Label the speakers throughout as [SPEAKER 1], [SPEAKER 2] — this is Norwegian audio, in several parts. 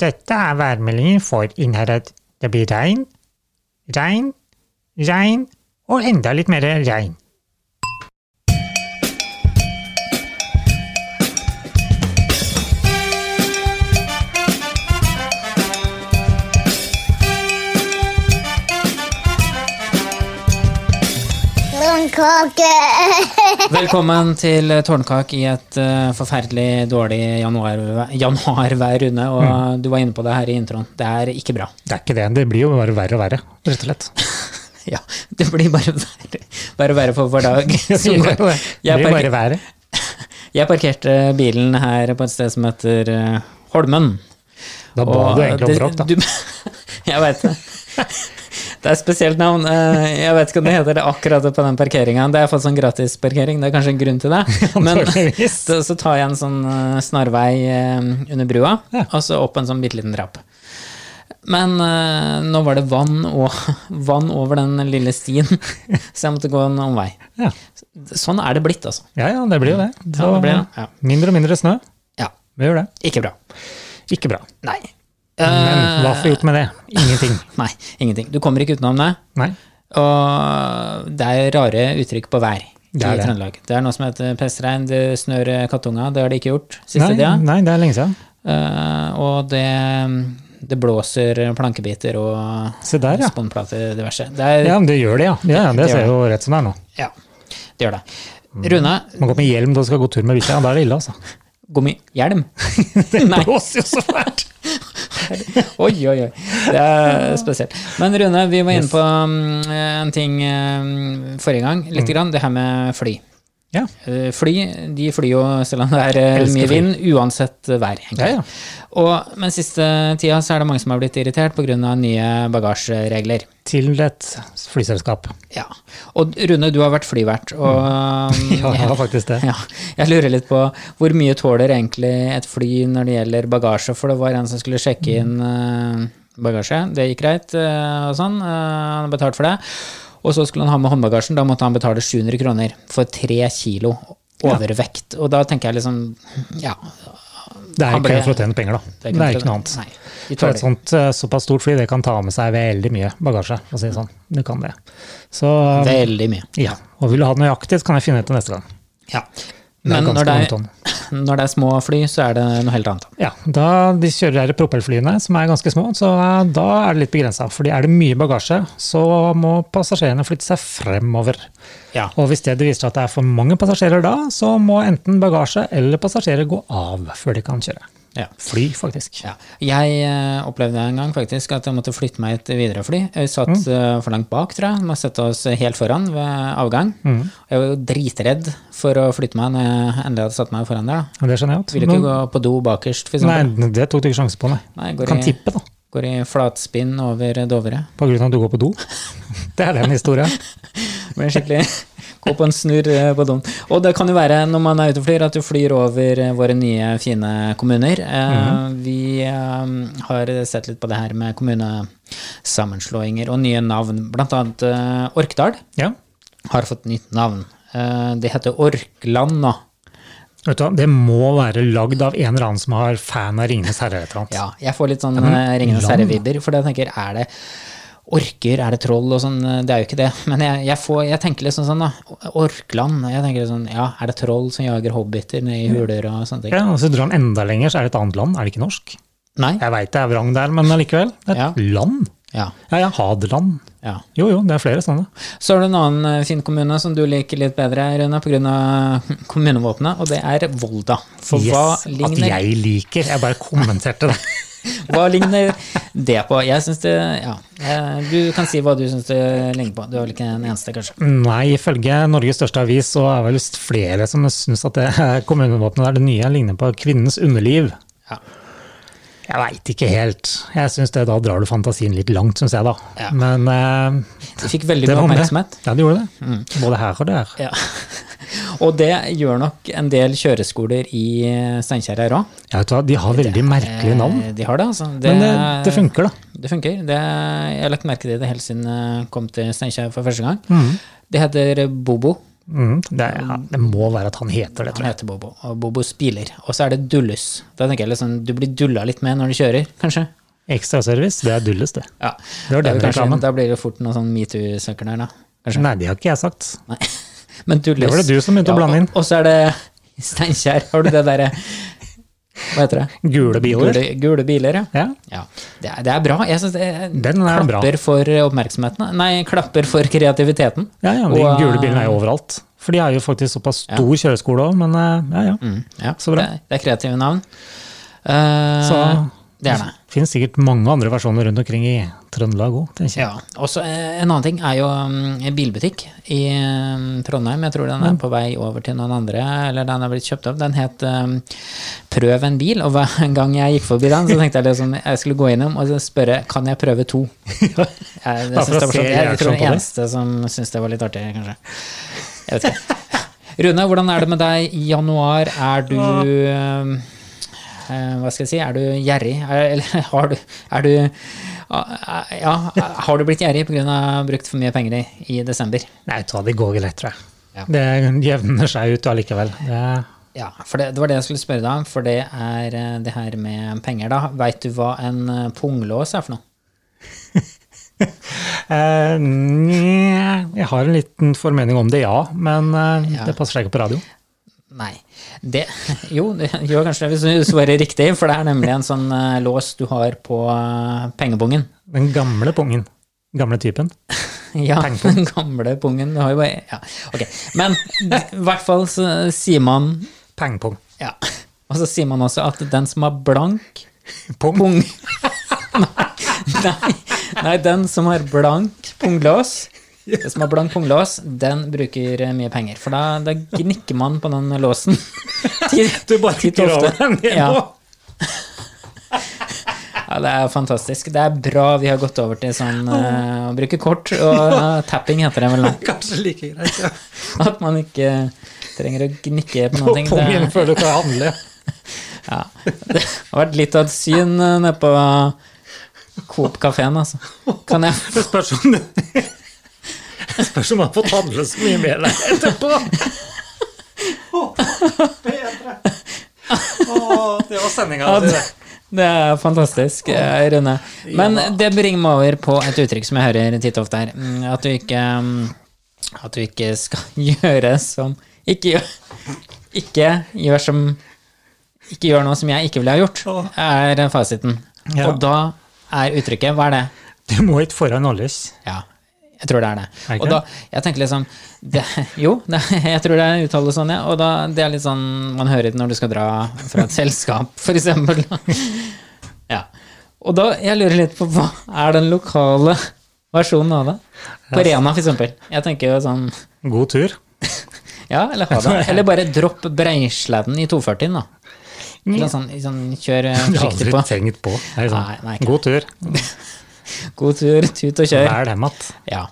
[SPEAKER 1] Dette er værmeldingen for Innherred. Det blir regn, regn, regn og enda litt mer regn.
[SPEAKER 2] Blomkake!
[SPEAKER 3] Velkommen til Tårnkak i et eh, forferdelig dårlig januarvær, januarvær Rune. Og
[SPEAKER 1] Mm.
[SPEAKER 3] du var inne på det her i introen. Det er ikke bra.
[SPEAKER 1] Det er ikke det. Det blir jo bare verre og verre, rett og slett.
[SPEAKER 3] Ja, Det blir bare verre, bare verre for hver dag.
[SPEAKER 1] Det
[SPEAKER 3] som
[SPEAKER 1] blir
[SPEAKER 3] går. Jeg,
[SPEAKER 1] bare
[SPEAKER 3] parker,
[SPEAKER 1] verre.
[SPEAKER 3] jeg parkerte bilen her på et sted som heter eh, Holmen.
[SPEAKER 1] Da ba
[SPEAKER 3] Og
[SPEAKER 1] du egentlig om bråk, da.
[SPEAKER 3] du- jeg veit det. Det er et spesielt navn. eh, Jeg vet ikke om det heter det akkurat på den parkeringa. Det har jeg fått sånn gratisparkering, det er kanskje en grunn til det. Men
[SPEAKER 1] Antageligvis.
[SPEAKER 3] så, så tar jeg en sånn eh, snarvei eh, under brua,
[SPEAKER 1] Ja.
[SPEAKER 3] og så opp en sånn bitte liten trapp. Men eh, nå var det vann, og, vann over den lille stien, så jeg måtte gå en omvei.
[SPEAKER 1] Ja.
[SPEAKER 3] Sånn er det blitt, altså.
[SPEAKER 1] ja, ja, det blir jo det.
[SPEAKER 3] Ja, det blir det. Ja.
[SPEAKER 1] Mindre og mindre snø.
[SPEAKER 3] Ja,
[SPEAKER 1] Vi gjør det.
[SPEAKER 3] ikke bra.
[SPEAKER 1] Ikke bra.
[SPEAKER 3] Nei. Eh.
[SPEAKER 1] Men hva får vi gjort med det? Ingenting.
[SPEAKER 3] Nei, ingenting. Du kommer ikke utenom det.
[SPEAKER 1] Nei.
[SPEAKER 3] Og det er rare uttrykk på vær i
[SPEAKER 1] Det er det.
[SPEAKER 3] Trøndelag. Det er noe som heter pestregn, det snør kattunga, det har det ikke gjort siste
[SPEAKER 1] Nei,
[SPEAKER 3] tida.
[SPEAKER 1] nei, det er lenge siden.
[SPEAKER 3] Eh, og det, det blåser plankebiter og
[SPEAKER 1] Se der, ja.
[SPEAKER 3] sponplater diverse. Det er,
[SPEAKER 1] Ja,
[SPEAKER 3] ja.
[SPEAKER 1] men det gjør det, ja. Ja, ja, Det
[SPEAKER 3] Det Eh. gjør
[SPEAKER 1] ser jo rett som det er nå.
[SPEAKER 3] det gjør det. Rune,
[SPEAKER 1] Man går med hjelm da du skal gå tur med bikkja. Ja, da er det ille, altså.
[SPEAKER 3] gummihjelm?
[SPEAKER 1] Det
[SPEAKER 3] Nei.
[SPEAKER 1] blåser jo så fælt!
[SPEAKER 3] Oi, oi, oi. Det er spesielt. Men Rune, vi var inne på mm, en ting eh, forrige gang,
[SPEAKER 1] Mm.
[SPEAKER 3] litt grann, det her med fly.
[SPEAKER 1] Ja.
[SPEAKER 3] Eh, Fly de flyr jo selv om det er eh,
[SPEAKER 1] Elsker
[SPEAKER 3] mye
[SPEAKER 1] fly.
[SPEAKER 3] vind, uansett eh, vær. egentlig.
[SPEAKER 1] Ja, ja.
[SPEAKER 3] Og, men siste tida så er det mange som har blitt irritert pga. nye bagasjeregler.
[SPEAKER 1] Til et flyselskap.
[SPEAKER 3] Ja. Og Rune, du har vært flyvert, og
[SPEAKER 1] Mm.
[SPEAKER 3] eh,
[SPEAKER 1] Ja, det var faktisk det.
[SPEAKER 3] Ja, jeg lurer litt på hvor mye tåler egentlig et fly når det gjelder bagasje, for det var en som skulle sjekke inn eh, bagasje, det gikk greit eh, og sånn, eh, han har betalt for det. Og så skulle han ha med håndbagasjen, da måtte han betale 700 kroner for tre kilo overvekt. Og da tenker jeg liksom, ja,
[SPEAKER 1] Det er
[SPEAKER 3] Han
[SPEAKER 1] ikke
[SPEAKER 3] ble-
[SPEAKER 1] for å tjene penger, da. Det er ikke noe annet.
[SPEAKER 3] Nei, vi
[SPEAKER 1] For
[SPEAKER 3] tåler
[SPEAKER 1] et sånt eh, såpass stort fly, det kan ta med seg veldig mye bagasje, for å si det sånn. Det kan det. Så eh,
[SPEAKER 3] veldig mye.
[SPEAKER 1] ja. Og vil du ha det nøyaktig, så kan jeg finne ut det neste gang.
[SPEAKER 3] Ja.
[SPEAKER 1] Det er
[SPEAKER 3] Men
[SPEAKER 1] ganske
[SPEAKER 3] når det,
[SPEAKER 1] mange
[SPEAKER 3] er,
[SPEAKER 1] tonn.
[SPEAKER 3] når det er små fly, så er det noe helt annet.
[SPEAKER 1] Ja, da de kjører her propellflyene, som er ganske små, så eh, da er det litt begrensa. Fordi er det mye bagasje, så må passasjerene flytte seg fremover.
[SPEAKER 3] Ja.
[SPEAKER 1] Og hvis det viser seg at det er for mange passasjerer da, så må enten bagasje eller passasjerer gå av før de kan kjøre.
[SPEAKER 3] Ja.
[SPEAKER 1] Fly, faktisk.
[SPEAKER 3] Ja. Jeg eh, opplevde en gang faktisk at jeg måtte flytte meg et Widerøe-fly. Jeg satt eh, for langt bak, tror jeg. Må sette oss helt foran ved avgang. Jeg var jo dritredd for å flytte meg når jeg endelig hadde satt meg foran der. Da.
[SPEAKER 1] Og Det skjønner jeg godt.
[SPEAKER 3] Ville ikke
[SPEAKER 1] Men-
[SPEAKER 3] gå på do bakerst, for eksempel.
[SPEAKER 1] Nei, det tok du ikke sjanse på, nei.
[SPEAKER 3] Nei, går
[SPEAKER 1] Kan
[SPEAKER 3] i-
[SPEAKER 1] tippe, da.
[SPEAKER 3] Går i flatspinn over Dovre.
[SPEAKER 1] På grunn av at du går på do. Det er den historien.
[SPEAKER 3] Men skikkelig Gå på en snurr eh, på doen. Og det kan jo være når man er ute og flyr, at du flyr over eh, våre nye, fine kommuner. Eh, Vi eh, har sett litt på det her med kommunesammenslåinger og nye navn. Blant annet eh, Orkdal
[SPEAKER 1] Ja.
[SPEAKER 3] har fått nytt navn. Eh, det heter Orkland nå.
[SPEAKER 1] Vet du hva, det må være lagd av en eller annen som har fan av Ringenes herre eller et eller annet.
[SPEAKER 3] Ja, jeg får litt sånn eh, Ringenes
[SPEAKER 1] land,
[SPEAKER 3] herre-vibber, for jeg tenker, er det orker, er det troll og sånn? Det er jo ikke det, men jeg, jeg, får, jeg tenker litt sånn sånn, da. Orkland, jeg tenker litt sånn, ja, er det troll som jager hobbiter ned
[SPEAKER 1] Mm.
[SPEAKER 3] i huler og sånne ting?
[SPEAKER 1] Ja, og så drar han enda lenger, så er det et annet land. Er det ikke norsk?
[SPEAKER 3] Nei?
[SPEAKER 1] Jeg veit det er vrang der, men allikevel. Det er
[SPEAKER 3] Ja.
[SPEAKER 1] et land.
[SPEAKER 3] Ja,
[SPEAKER 1] Ja, ja, Hadeland.
[SPEAKER 3] ja.
[SPEAKER 1] Jo, jo, det er flere sånne.
[SPEAKER 3] Så er det en annen eh, fin kommune som du liker litt bedre, Rune, på grunn av kommunevåpenet, og det er Volda. For
[SPEAKER 1] Yes,
[SPEAKER 3] hva
[SPEAKER 1] at
[SPEAKER 3] ligner
[SPEAKER 1] jeg liker. Jeg bare kommenterte det.
[SPEAKER 3] Hva ligner det på? Jeg syns det Ja. eh, Du kan si hva du syns det ligner på. Du er vel ikke den eneste, kanskje?
[SPEAKER 1] Nei, ifølge Norges største avis så er vel flere som syns at det kommunevåpenet der, det nye, ligner på kvinnens underliv.
[SPEAKER 3] Ja.
[SPEAKER 1] Jeg veit ikke helt. Jeg synes det Da drar du fantasien litt langt, syns jeg, da.
[SPEAKER 3] Ja.
[SPEAKER 1] Men eh,
[SPEAKER 3] De fikk veldig
[SPEAKER 1] det
[SPEAKER 3] mye
[SPEAKER 1] var med.
[SPEAKER 3] oppmerksomhet. Mm.
[SPEAKER 1] Ja, det gjorde det. Både her og der.
[SPEAKER 3] Ja. Og det gjør nok en del kjøreskoler i Steinkjer her òg.
[SPEAKER 1] Jeg vet hva, De har veldig merkelige navn,
[SPEAKER 3] De har det, altså. Det,
[SPEAKER 1] men det, det funker, da.
[SPEAKER 3] Det funker. Det, eh,
[SPEAKER 1] Mhm.
[SPEAKER 3] jeg har lagt merke til det helt siden jeg kom til Steinkjer for første gang. Det heter Bobo.
[SPEAKER 1] Mm, det, er- ja, det må være at han heter det,
[SPEAKER 3] Han
[SPEAKER 1] tror jeg.
[SPEAKER 3] heter Bobo, og Bobo spiler. Og så er det Dullus. Da tenker jeg litt sånn, Du blir dulla litt med når du kjører, kanskje?
[SPEAKER 1] Ekstraservice, det er Dulles, det.
[SPEAKER 3] Ja.
[SPEAKER 1] Det var
[SPEAKER 3] Da, er
[SPEAKER 1] den
[SPEAKER 3] det kanskje,
[SPEAKER 1] reklamen.
[SPEAKER 3] da blir det fort noen sånn metoo-søker der, da. Kanskje.
[SPEAKER 1] Nei, det har ikke jeg sagt.
[SPEAKER 3] Nei. Men Dullus
[SPEAKER 1] Det var det du som begynte å blande inn.
[SPEAKER 3] Og, og så er det Steinkjer. Har du det derre Hva heter det?
[SPEAKER 1] Gule biler.
[SPEAKER 3] Gule, gule biler, ja.
[SPEAKER 1] Ja.
[SPEAKER 3] ja. Det, er, det er bra. Jeg synes det er,
[SPEAKER 1] Den er bra.
[SPEAKER 3] klapper for oppmerksomheten. Nei, klapper for kreativiteten.
[SPEAKER 1] Ja, ja, de
[SPEAKER 3] Og, eh,
[SPEAKER 1] gule bilene er jo overalt. For de har jo faktisk såpass stor kjøreskole òg, men eh, ja, ja.
[SPEAKER 3] Mm, ja.
[SPEAKER 1] Så bra.
[SPEAKER 3] Det, det er kreative navn. Eh,
[SPEAKER 1] Så-
[SPEAKER 3] det er det.
[SPEAKER 1] Finnes sikkert mange andre versjoner rundt omkring i Trøndelag òg, tenker jeg.
[SPEAKER 3] Ja. Og så eh, en annen ting er jo mm, en bilbutikk i mm, Trondheim. Jeg tror den er på vei over til noen andre, eller den er blitt kjøpt opp. Den het mm, Prøv en bil, og hver gang jeg gikk forbi den, så tenkte jeg liksom, jeg skulle gå innom og så spørre kan jeg prøve to. Jeg, det
[SPEAKER 1] Bare
[SPEAKER 3] synes
[SPEAKER 1] for å se
[SPEAKER 3] det var sånn- jeg, jeg
[SPEAKER 1] reaksjonen
[SPEAKER 3] tror
[SPEAKER 1] på
[SPEAKER 3] den
[SPEAKER 1] det.
[SPEAKER 3] eneste som syntes det var litt artig, kanskje. Jeg vet ikke. Rune, hvordan er det med deg i januar? Er du mm, Eh, hva skal jeg si, er du gjerrig? Er, eller har du, er du ah, Ja, har du blitt gjerrig pga. brukt for mye penger i, i desember?
[SPEAKER 1] Nei, ta det går greit, tror jeg.
[SPEAKER 3] Ja.
[SPEAKER 1] Det jevner seg ut allikevel. Det,
[SPEAKER 3] Ja, for det, det var det jeg skulle spørre deg om, for det er eh, det her med penger, da. Veit du hva en eh, punglås er for noe?
[SPEAKER 1] eh, nja, jeg har en liten formening om det, ja. Men eh,
[SPEAKER 3] Ja.
[SPEAKER 1] det passer seg ikke på radio.
[SPEAKER 3] Nei. Det, jo, det gjør kanskje det hvis du svarer riktig, for det er nemlig en sånn eh, lås du har på eh, pengebungen.
[SPEAKER 1] Den gamle pungen. Gamle typen.
[SPEAKER 3] Ja, den gamle pungen. Du har jo bare Ja, ok. Men i hvert fall så sier man
[SPEAKER 1] Pengpung.
[SPEAKER 3] Ja. Og så sier man også at den som har blank
[SPEAKER 1] Pung.
[SPEAKER 3] pung... Nei, nei, den som har blank punglås, den som har blank punglås, den bruker eh, mye penger. For da, da gnikker man på den låsen. Titt-
[SPEAKER 1] Du bare
[SPEAKER 3] titt
[SPEAKER 1] graver
[SPEAKER 3] ofte.
[SPEAKER 1] den ned
[SPEAKER 3] ja.
[SPEAKER 1] nå.
[SPEAKER 3] ja, det er fantastisk. Det er bra vi har gått over til sånn eh, å bruke kort, og eh, tapping heter det vel nå.
[SPEAKER 1] Kanskje like greit. Ja.
[SPEAKER 3] At man ikke trenger å gnikke på
[SPEAKER 1] På
[SPEAKER 3] noe.
[SPEAKER 1] pungen før du kan handle.
[SPEAKER 3] Ja. Det har vært litt av et syn eh, nede på Coop-kafeen, altså. Kan jeg
[SPEAKER 1] Det spørs om du Det spørs om man har fått handle så mye mer der etterpå. Å, bedre. Å, det var sendinga.
[SPEAKER 3] Ja, det- Det er fantastisk, eh, Rune. Men det bringer meg over på et uttrykk som jeg hører titt og ofte her. Mm, At du ikke mm, At du ikke skal gjøre som Ikke gjør Ikke gjør som Ikke gjør noe som jeg ikke ville ha gjort,
[SPEAKER 1] Åh.
[SPEAKER 3] er fasiten.
[SPEAKER 1] Ja.
[SPEAKER 3] Og da er uttrykket Hva er det?
[SPEAKER 1] Du må ikke foran oljes.
[SPEAKER 3] Ja, jeg tror det er det.
[SPEAKER 1] Er det ikke
[SPEAKER 3] Og da, jeg tenker liksom det, Jo, det, jeg tror det uttales sånn, ja. Og da, det er litt sånn man hører det når du skal dra fra et selskap, for eksempel. Ja. Og da, jeg lurer litt på hva er den lokale versjonen av det? På Rena, for eksempel. Jeg tenker jo sånn
[SPEAKER 1] God tur.
[SPEAKER 3] Ja, eller ha det. Eller bare dropp Breisledden i 240-en, da. Eller sånn, sånn kjør eh,
[SPEAKER 1] Det har jeg
[SPEAKER 3] riktig på.
[SPEAKER 1] aldri tenkt på. Det er
[SPEAKER 3] Nei,
[SPEAKER 1] sånn,
[SPEAKER 3] nei, ikke. Eh.
[SPEAKER 1] God tur.
[SPEAKER 3] God tur, tut og kjør.
[SPEAKER 1] Vær dem att.
[SPEAKER 3] Ja.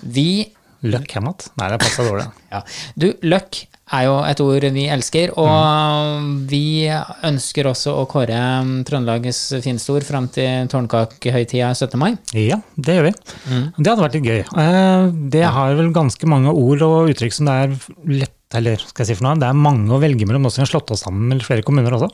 [SPEAKER 3] Vi
[SPEAKER 1] Løkk hem att. Nei, det passa dårlig.
[SPEAKER 3] Ja. Du, løkk er jo et ord vi elsker, og
[SPEAKER 1] Mm.
[SPEAKER 3] vi ønsker også å kåre mm, Trøndelages fineste ord fram til tårnkakehøytida 17. mai.
[SPEAKER 1] Ja, det gjør vi.
[SPEAKER 3] Mm.
[SPEAKER 1] Det hadde vært litt gøy. Eh, Det har vel ganske mange ord og uttrykk som det er lett eller skal jeg si for noe, Det er mange å velge mellom, noe som har slått oss sammen med flere kommuner også.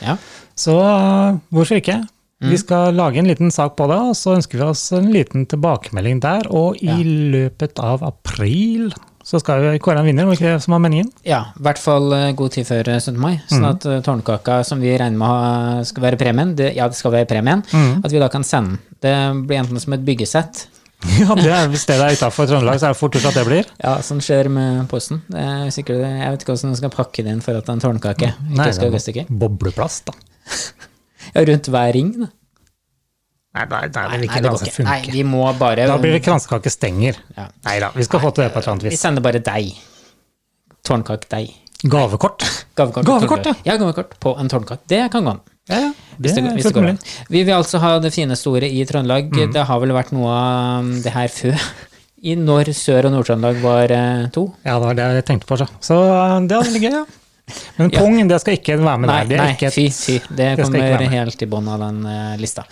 [SPEAKER 3] Ja.
[SPEAKER 1] Så eh, hvorfor ikke? Vi
[SPEAKER 3] Mm.
[SPEAKER 1] skal lage en liten sak på det, og så ønsker vi oss en liten tilbakemelding der. Og i løpet av april så skal vi kåre en vinner, var det ikke det som var meningen?
[SPEAKER 3] ja, i hvert fall eh, god tid før eh, 17. mai, sånn
[SPEAKER 1] Mm.
[SPEAKER 3] at eh, tårnkaka som vi regner med å ha- skal være premien, det, ja, det skal være premien,
[SPEAKER 1] Mm.
[SPEAKER 3] at vi da kan sende den. Det blir enten som et byggesett,
[SPEAKER 1] Ja, det er, Hvis det er utafor Trøndelag, så er det fort gjort at det blir.
[SPEAKER 3] ja, som skjer med posten. Det er sikkert, uh, jeg vet ikke hvordan du skal pakke det inn for at en tårnkake ikke
[SPEAKER 1] Nei,
[SPEAKER 3] skal gå
[SPEAKER 1] det
[SPEAKER 3] i stykker.
[SPEAKER 1] er bobleplast, da.
[SPEAKER 3] Ja, rundt hver ring, da.
[SPEAKER 1] Nei, nei, nei, det vil
[SPEAKER 3] Nei,
[SPEAKER 1] ikke
[SPEAKER 3] det går
[SPEAKER 1] danse
[SPEAKER 3] ikke. Nei,
[SPEAKER 1] funke.
[SPEAKER 3] vi må bare
[SPEAKER 1] Da blir det kransekakestenger.
[SPEAKER 3] altså Ja.
[SPEAKER 1] Nei da, vi skal få til det på et eller annet
[SPEAKER 3] Vi
[SPEAKER 1] vis.
[SPEAKER 3] sender bare deg. Tårnkakedeig.
[SPEAKER 1] Gavekort.
[SPEAKER 3] Gavekort.
[SPEAKER 1] Gavekort, ja.
[SPEAKER 3] ja. Gavekort på en tårnkake. Det kan gå an.
[SPEAKER 1] Det
[SPEAKER 3] Hvis det, går-
[SPEAKER 1] er Mm.
[SPEAKER 3] hvis det
[SPEAKER 1] fullt
[SPEAKER 3] går
[SPEAKER 1] mulig.
[SPEAKER 3] an. Vi vil altså ha det fineste ordet i Trøndelag. Det har vel vært noe av det her før. I når Sør- og Nord-Trøndelag var eh, to.
[SPEAKER 1] Ja, det var det jeg tenkte på. Så, så eh, det var veldig gøy, ja. Men pung, det skal ikke være med
[SPEAKER 3] Nei,
[SPEAKER 1] der. Det er
[SPEAKER 3] nei
[SPEAKER 1] ikke et
[SPEAKER 3] fy, fy. Det
[SPEAKER 1] det skal ikke
[SPEAKER 3] kommer
[SPEAKER 1] være med. Mm.
[SPEAKER 3] helt i bånn av den eh, lista.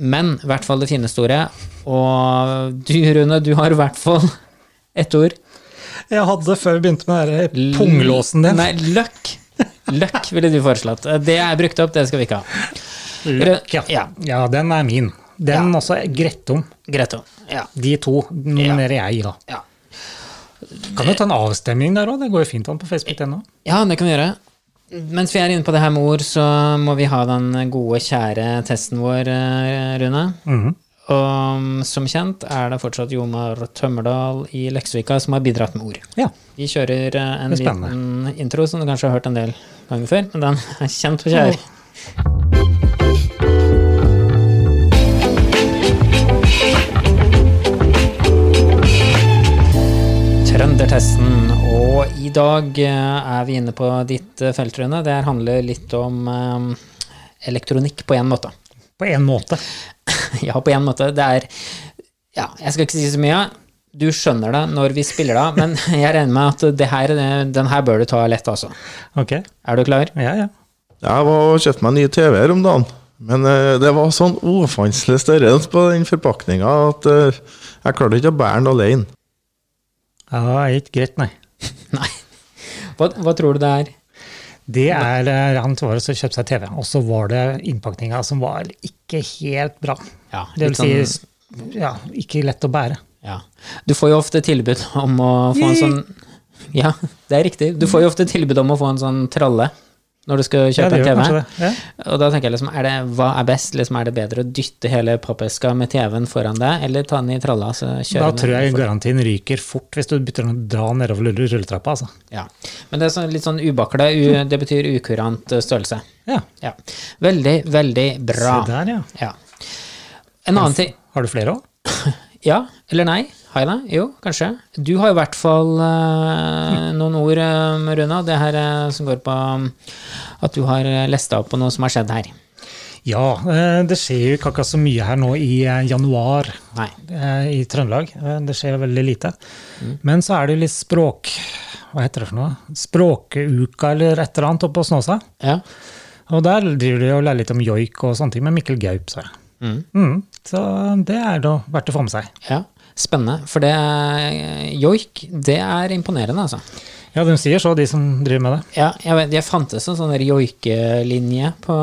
[SPEAKER 3] Men i hvert fall det fineste ordet. Og du, Rune, du har i hvert fall ett ord.
[SPEAKER 1] Jeg hadde før vi begynte med den der punglåsen din.
[SPEAKER 3] Nei, løkk. Løkk ville du foreslått. Eh, Det er brukt opp, det skal vi ikke ha.
[SPEAKER 1] Løkk, ja.
[SPEAKER 3] Ja.
[SPEAKER 1] ja, den er min. Den også er Grettum.
[SPEAKER 3] Greit. da. Ja.
[SPEAKER 1] De to nominerer jeg, da.
[SPEAKER 3] Ja.
[SPEAKER 1] Kan jo ta en avstemning der òg, det går jo fint an på facebook.no.
[SPEAKER 3] ja, det kan vi gjøre. Mens vi er inne på det her med ord, så må vi ha den gode, kjære testen vår, eh, Rune.
[SPEAKER 1] Mhm.
[SPEAKER 3] Og mm, som kjent er det fortsatt Jomar Tømmerdal i Leksvika som har bidratt med ord.
[SPEAKER 1] Ja.
[SPEAKER 3] Vi kjører eh, en
[SPEAKER 1] Det er spennende.
[SPEAKER 3] liten intro som du kanskje har hørt en del ganger før, men den er kjent og kjær. Trøndertesten, og i dag eh, er vi inne på ditt eh, felt, Rune. Det her handler litt om eh, elektronikk på én måte.
[SPEAKER 1] På en måte.
[SPEAKER 3] Ja, på en måte. Det er Ja, jeg skal ikke si så mye. Du skjønner det når vi spiller det, men jeg regner med at det her, den her bør du ta lett, altså.
[SPEAKER 1] Ok.
[SPEAKER 3] Er du klar?
[SPEAKER 1] Ja, ja.
[SPEAKER 2] Jeg var og kjøpte meg en ny TV her om dagen. Men eh, det var sånn ufanselig størrelse på den forpakninga at eh, jeg klarte ikke å bære den alene.
[SPEAKER 1] ja det er ikke greit, nei.
[SPEAKER 3] Nei. Hva, hva tror du det er?
[SPEAKER 1] Det er eh, han som var og så kjøpte seg TV, og så var det innpakninga som var ikke helt bra.
[SPEAKER 3] Ja,
[SPEAKER 1] Det
[SPEAKER 3] litt
[SPEAKER 1] vil si
[SPEAKER 3] sånn-
[SPEAKER 1] s- ja, ikke lett å bære.
[SPEAKER 3] Ja. Du får jo ofte tilbud om å få en sånn Ja, det er riktig. Du får jo ofte tilbud om å få en sånn tralle når du skal
[SPEAKER 1] Ja,
[SPEAKER 3] kjøpe
[SPEAKER 1] det gjør
[SPEAKER 3] en TV.
[SPEAKER 1] kanskje det. Ja.
[SPEAKER 3] Og da tenker jeg liksom, er det, hva er best? Liksom, er det bedre å dytte hele pappeska med TV-en foran deg, eller ta den i tralla? Så
[SPEAKER 1] Da
[SPEAKER 3] kjøre den
[SPEAKER 1] tror jeg
[SPEAKER 3] for-
[SPEAKER 1] garantien ryker fort hvis du bytter den å dra nedover rulle- rulletrappa. Altså.
[SPEAKER 3] Ja. Men det er sånn, litt sånn ubakla. U, det betyr ukurant eh, størrelse.
[SPEAKER 1] Ja,
[SPEAKER 3] Ja. Veldig, veldig bra.
[SPEAKER 1] Se der, ja.
[SPEAKER 3] Ja. En annen ting
[SPEAKER 1] Har du flere òg?
[SPEAKER 3] Ja eller nei? Har jeg det? Jo, kanskje. Du har i hvert fall eh, noen ord, eh, Runa. Det her eh, som går på um, at du har eh, lest deg opp på noe som har skjedd her.
[SPEAKER 1] Ja, eh, det skjer jo ikke akkurat så mye her nå i eh, januar
[SPEAKER 3] Nei.
[SPEAKER 1] eh, i Trøndelag. Eh, Det skjer veldig lite. Men så er det jo litt språk... Hva heter det for noe? Språkuka eller et eller annet oppe på Snåsa.
[SPEAKER 3] Ja.
[SPEAKER 1] Og der driver de og lærer litt om joik og sånne ting med Mikkel Gaup. Så,
[SPEAKER 3] Mm.
[SPEAKER 1] mm, så det er da verdt å få med seg.
[SPEAKER 3] ja. Spennende. For det eh, joik, det er imponerende, altså.
[SPEAKER 1] Ja, de sier så, de som driver med det.
[SPEAKER 3] Ja, jeg vet, jeg fantes en sånn der joikelinje på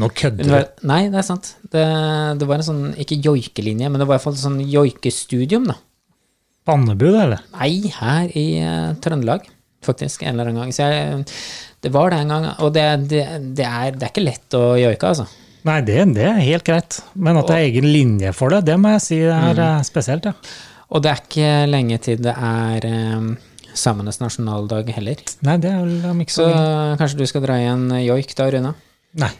[SPEAKER 1] Nå kødder du.
[SPEAKER 3] Univers- Nei, det er sant. Det, det var en sånn, ikke joikelinje, men det var i hvert fall sånn joikestudium, da.
[SPEAKER 1] På Andebu, da, eller?
[SPEAKER 3] Nei, her i eh, Trøndelag, faktisk, en eller annen gang. Så jeg, det var det en gang, og det, det, det, er, det er ikke lett å joike, altså.
[SPEAKER 1] Nei, det, det er helt greit. Men at det er egen linje for det, det må jeg si er
[SPEAKER 3] Mm.
[SPEAKER 1] eh, spesielt, ja.
[SPEAKER 3] Og det er ikke lenge til det er eh, samenes nasjonaldag heller.
[SPEAKER 1] Nei, det er vel om ikke så
[SPEAKER 3] Så
[SPEAKER 1] lenge.
[SPEAKER 3] kanskje du skal dra igjen joik da, Rune?
[SPEAKER 1] Nei.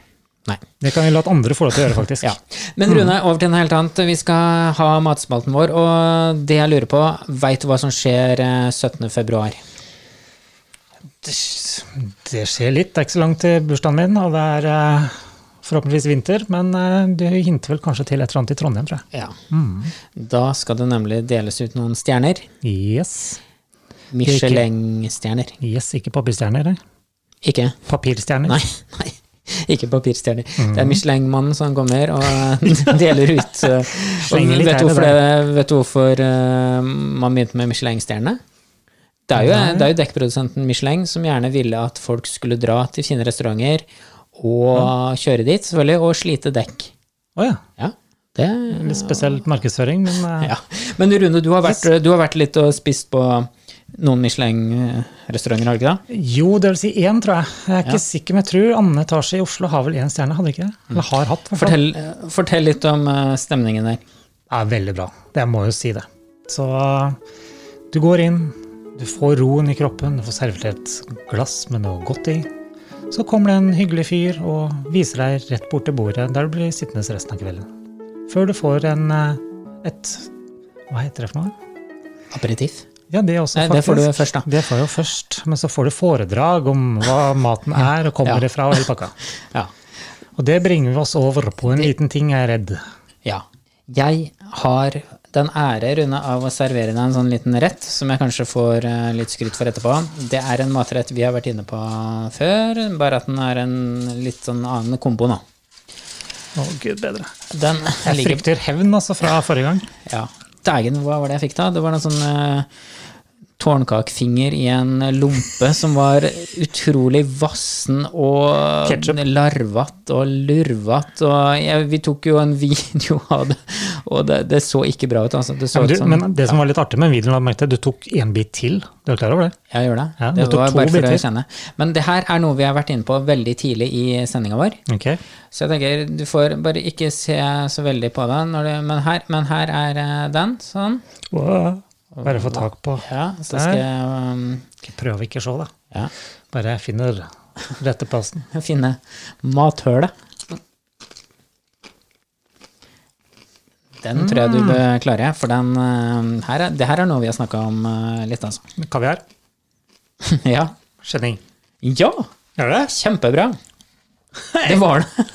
[SPEAKER 3] Nei.
[SPEAKER 1] Det kan vi la andre få lov til å gjøre, faktisk.
[SPEAKER 3] Ja. Men Rune, over til noe helt annet. Vi skal ha matspalten vår, og det jeg lurer på, veit du hva som skjer eh, 17. februar?
[SPEAKER 1] Det, det skjer litt. Det er ikke så langt til bursdagen min, og det er eh, forhåpentligvis vinter. Men eh, det hinter vel kanskje til et eller annet i Trondheim, tror jeg.
[SPEAKER 3] Ja.
[SPEAKER 1] Mm.
[SPEAKER 3] Da skal det nemlig deles ut noen stjerner.
[SPEAKER 1] Yes.
[SPEAKER 3] Michelin-stjerner.
[SPEAKER 1] Yes, ikke papirstjerner. eh.
[SPEAKER 3] Ikke?
[SPEAKER 1] Papirstjerner.
[SPEAKER 3] Nei. nei. Ikke papirstjerner.
[SPEAKER 1] Mm.
[SPEAKER 3] Det er Michelin-mannen som kommer og eh, deler ut eh, og
[SPEAKER 1] Slenger litt
[SPEAKER 3] vet,
[SPEAKER 1] her
[SPEAKER 3] du
[SPEAKER 1] og
[SPEAKER 3] hvorfor det, vet du hvorfor eh, man begynte med Michelin-stjernene? Det er, jo, det er jo dekkprodusenten Michelin som gjerne ville at folk skulle dra til fine restauranter og kjøre dit, selvfølgelig, og slite dekk.
[SPEAKER 1] Å ja.
[SPEAKER 3] Ja, det
[SPEAKER 1] Litt spesiell markedsføring, men eh,
[SPEAKER 3] Ah. ja. Men Rune, du har, vært, du har vært litt og spist på noen Michelin-restauranter, har du ikke det?
[SPEAKER 1] Jo, det vil si én, tror jeg. Jeg er ikke sikker, men jeg tror andre etasje i Oslo har vel én stjerne, hadde ikke det? Eller har hatt, i hvert fall.
[SPEAKER 3] Mm. Fortell, fortell litt om eh, stemningen der.
[SPEAKER 1] Det er veldig bra. Det må jo si det. Så du går inn, du får roen i kroppen, du får servert et glass med noe godt i. Så kommer det en hyggelig fyr og viser deg rett bort til bordet, der du blir sittende resten av kvelden. Før du får en eh, et Hva heter det for noe?
[SPEAKER 3] Aperitif.
[SPEAKER 1] Ja, det også,
[SPEAKER 3] Nei,
[SPEAKER 1] faktisk.
[SPEAKER 3] det får du først, da.
[SPEAKER 1] Det får jeg jo først, men så får du foredrag om hva maten er og kommer
[SPEAKER 3] Ja.
[SPEAKER 1] ifra og hele pakka.
[SPEAKER 3] Ja.
[SPEAKER 1] Og det bringer oss over på en liten ting jeg er redd.
[SPEAKER 3] ja. Jeg har den ære, Rune, av å servere deg en sånn liten rett, som jeg kanskje får eh, litt skryt for etterpå. Det er en matrett vi har vært inne på før, bare at den er en litt sånn annen kombo nå.
[SPEAKER 1] Å, gud bedre.
[SPEAKER 3] Den
[SPEAKER 1] Jeg
[SPEAKER 3] ligger
[SPEAKER 1] frykter hevn altså fra forrige gang.
[SPEAKER 3] Ja. Dægen, hva var det jeg fikk da? Det var noe sånn eh, tårnkakefinger i en lompe som var utrolig vassen og
[SPEAKER 1] Ketchup.
[SPEAKER 3] larvete og lurvete. Og jeg, vi tok jo en video av det, og det, det så ikke bra ut. Altså. Det
[SPEAKER 1] Ja,
[SPEAKER 3] så
[SPEAKER 1] men,
[SPEAKER 3] ut
[SPEAKER 1] du,
[SPEAKER 3] som
[SPEAKER 1] men det som var litt artig med videoen, la jeg merke til, du tok en bit til. Du er klar over det?
[SPEAKER 3] Jeg gjør det.
[SPEAKER 1] Ja,
[SPEAKER 3] det
[SPEAKER 1] du tok
[SPEAKER 3] var
[SPEAKER 1] to
[SPEAKER 3] bare for å
[SPEAKER 1] biter.
[SPEAKER 3] kjenne. Men det her er noe vi har vært inne på veldig tidlig i sendinga vår.
[SPEAKER 1] Ok.
[SPEAKER 3] Så jeg tenker, du får bare ikke se så veldig på den, når du, men, her, men her er eh, den, sånn.
[SPEAKER 1] Wow. Bare få tak på.
[SPEAKER 3] Ja, så skal jeg um,
[SPEAKER 1] Prøv ikke å se, da.
[SPEAKER 3] ja,
[SPEAKER 1] Bare finner rette plassen.
[SPEAKER 3] finne mathølet. Den tror jeg
[SPEAKER 1] Mm.
[SPEAKER 3] du bør klare, for den, eh, her er, det her er noe vi har snakka om eh, litt, altså.
[SPEAKER 1] Kaviar.
[SPEAKER 3] ja.
[SPEAKER 1] Kjenning.
[SPEAKER 3] ja!
[SPEAKER 1] Gjør du det?
[SPEAKER 3] Kjempebra! Det var det.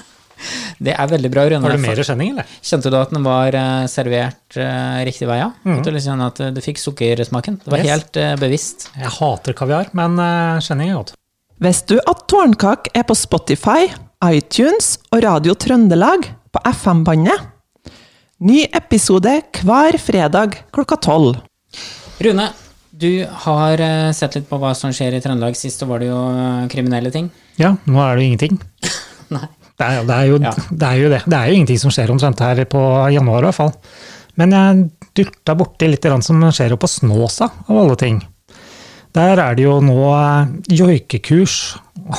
[SPEAKER 3] Det er veldig bra, Rune.
[SPEAKER 1] Har du mer kjenning, eller?
[SPEAKER 3] Kjente du at den var eh, servert eh, riktig vei? Ja? At du liksom kjenner at eh, du fikk sukkersmaken? Det var
[SPEAKER 1] Mm. Yes.
[SPEAKER 3] helt eh, bevisst.
[SPEAKER 1] Jeg hater kaviar, men eh, kjenning er godt.
[SPEAKER 4] Visste du at Tårnkak er på Spotify, iTunes og Radio Trøndelag på FM-bandet? Ny episode hver fredag klokka tolv.
[SPEAKER 3] Rune, du har eh, sett litt på hva som skjer i Trøndelag. Sist så var det jo eh, kriminelle ting.
[SPEAKER 1] Ja, nå er det jo ingenting.
[SPEAKER 3] Nei.
[SPEAKER 1] Det er, det, er jo,
[SPEAKER 3] Ja.
[SPEAKER 1] det er jo det. Det er jo ingenting som skjer omtrent her på januar, i hvert fall. Men jeg dulta borti litt grann som skjer oppe på Snåsa, av alle ting. Der er det jo nå eh, joikekurs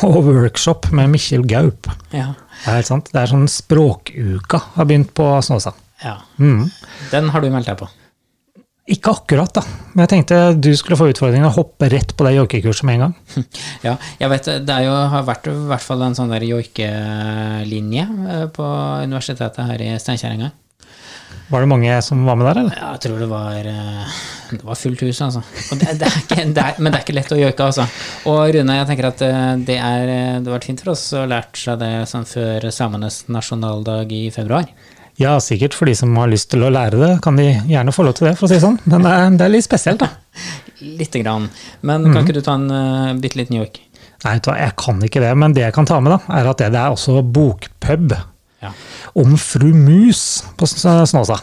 [SPEAKER 1] og workshop med Mikkjel Gaup.
[SPEAKER 3] Ja.
[SPEAKER 1] Det er helt sant. Det er sånn Språkuka har begynt på Snåsa.
[SPEAKER 3] ja.
[SPEAKER 1] Mhm.
[SPEAKER 3] Den har du meldt deg på.
[SPEAKER 1] Ikke akkurat, da. Men jeg tenkte du skulle få utfordringen å hoppe rett på det joikekurset med en gang.
[SPEAKER 3] Ja, jeg vet det er jo, har vært i hvert fall en sånn der joikelinje eh, på universitetet her i Steinkjerringa.
[SPEAKER 1] Var det mange som var med der, eller?
[SPEAKER 3] Ja, jeg tror det var eh, Det var fullt hus, altså. Og det, det er ikke, det er, men det er ikke lett å joike, altså. Og Rune, jeg tenker at eh, det er eh, Det har vært fint for oss å lære seg det sånn før samenes nasjonaldag i februar.
[SPEAKER 1] Ja, sikkert for de som har lyst til å lære det, kan de gjerne få lov til det, for å si det sånn. Men det er, det er litt spesielt, da.
[SPEAKER 3] Lite grann. Men kan ikke du ta en uh, bitte liten joik?
[SPEAKER 1] Nei, vet du hva, jeg kan ikke det, men det jeg kan ta med, da, er at det, det er også bokpub
[SPEAKER 3] Ja.
[SPEAKER 1] om fru Mus på S- Snåsa.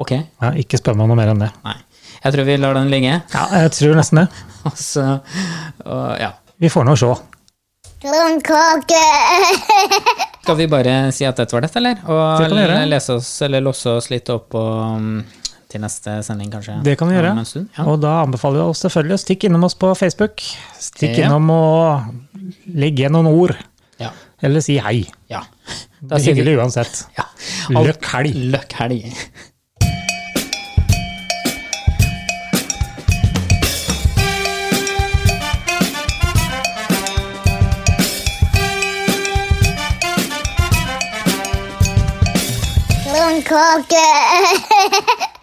[SPEAKER 3] Ok?
[SPEAKER 1] Ja, ikke spør meg noe mer enn det.
[SPEAKER 3] Nei. Jeg tror vi lar den ligge.
[SPEAKER 1] Ja, jeg tror nesten det.
[SPEAKER 3] Og så og, Ja.
[SPEAKER 1] Vi får nå se.
[SPEAKER 5] Blomkake!
[SPEAKER 3] Skal vi bare si at dette var dette, eller?
[SPEAKER 1] Det
[SPEAKER 3] Og
[SPEAKER 1] kan vi gjøre.
[SPEAKER 3] lese oss, eller losse oss litt opp på, um, til neste sending, kanskje?
[SPEAKER 1] Det kan vi gjøre.
[SPEAKER 3] Om en stund, ja.
[SPEAKER 1] Og da anbefaler vi oss selvfølgelig å stikke innom oss på Facebook. Stikk
[SPEAKER 3] Ja.
[SPEAKER 1] innom og legg igjen noen ord.
[SPEAKER 3] ja.
[SPEAKER 1] Eller si hei.
[SPEAKER 3] Ja.
[SPEAKER 1] Det er hyggelig uansett.
[SPEAKER 3] ja.
[SPEAKER 1] Løkk helg.
[SPEAKER 3] Løkk helg.
[SPEAKER 5] Blomkake!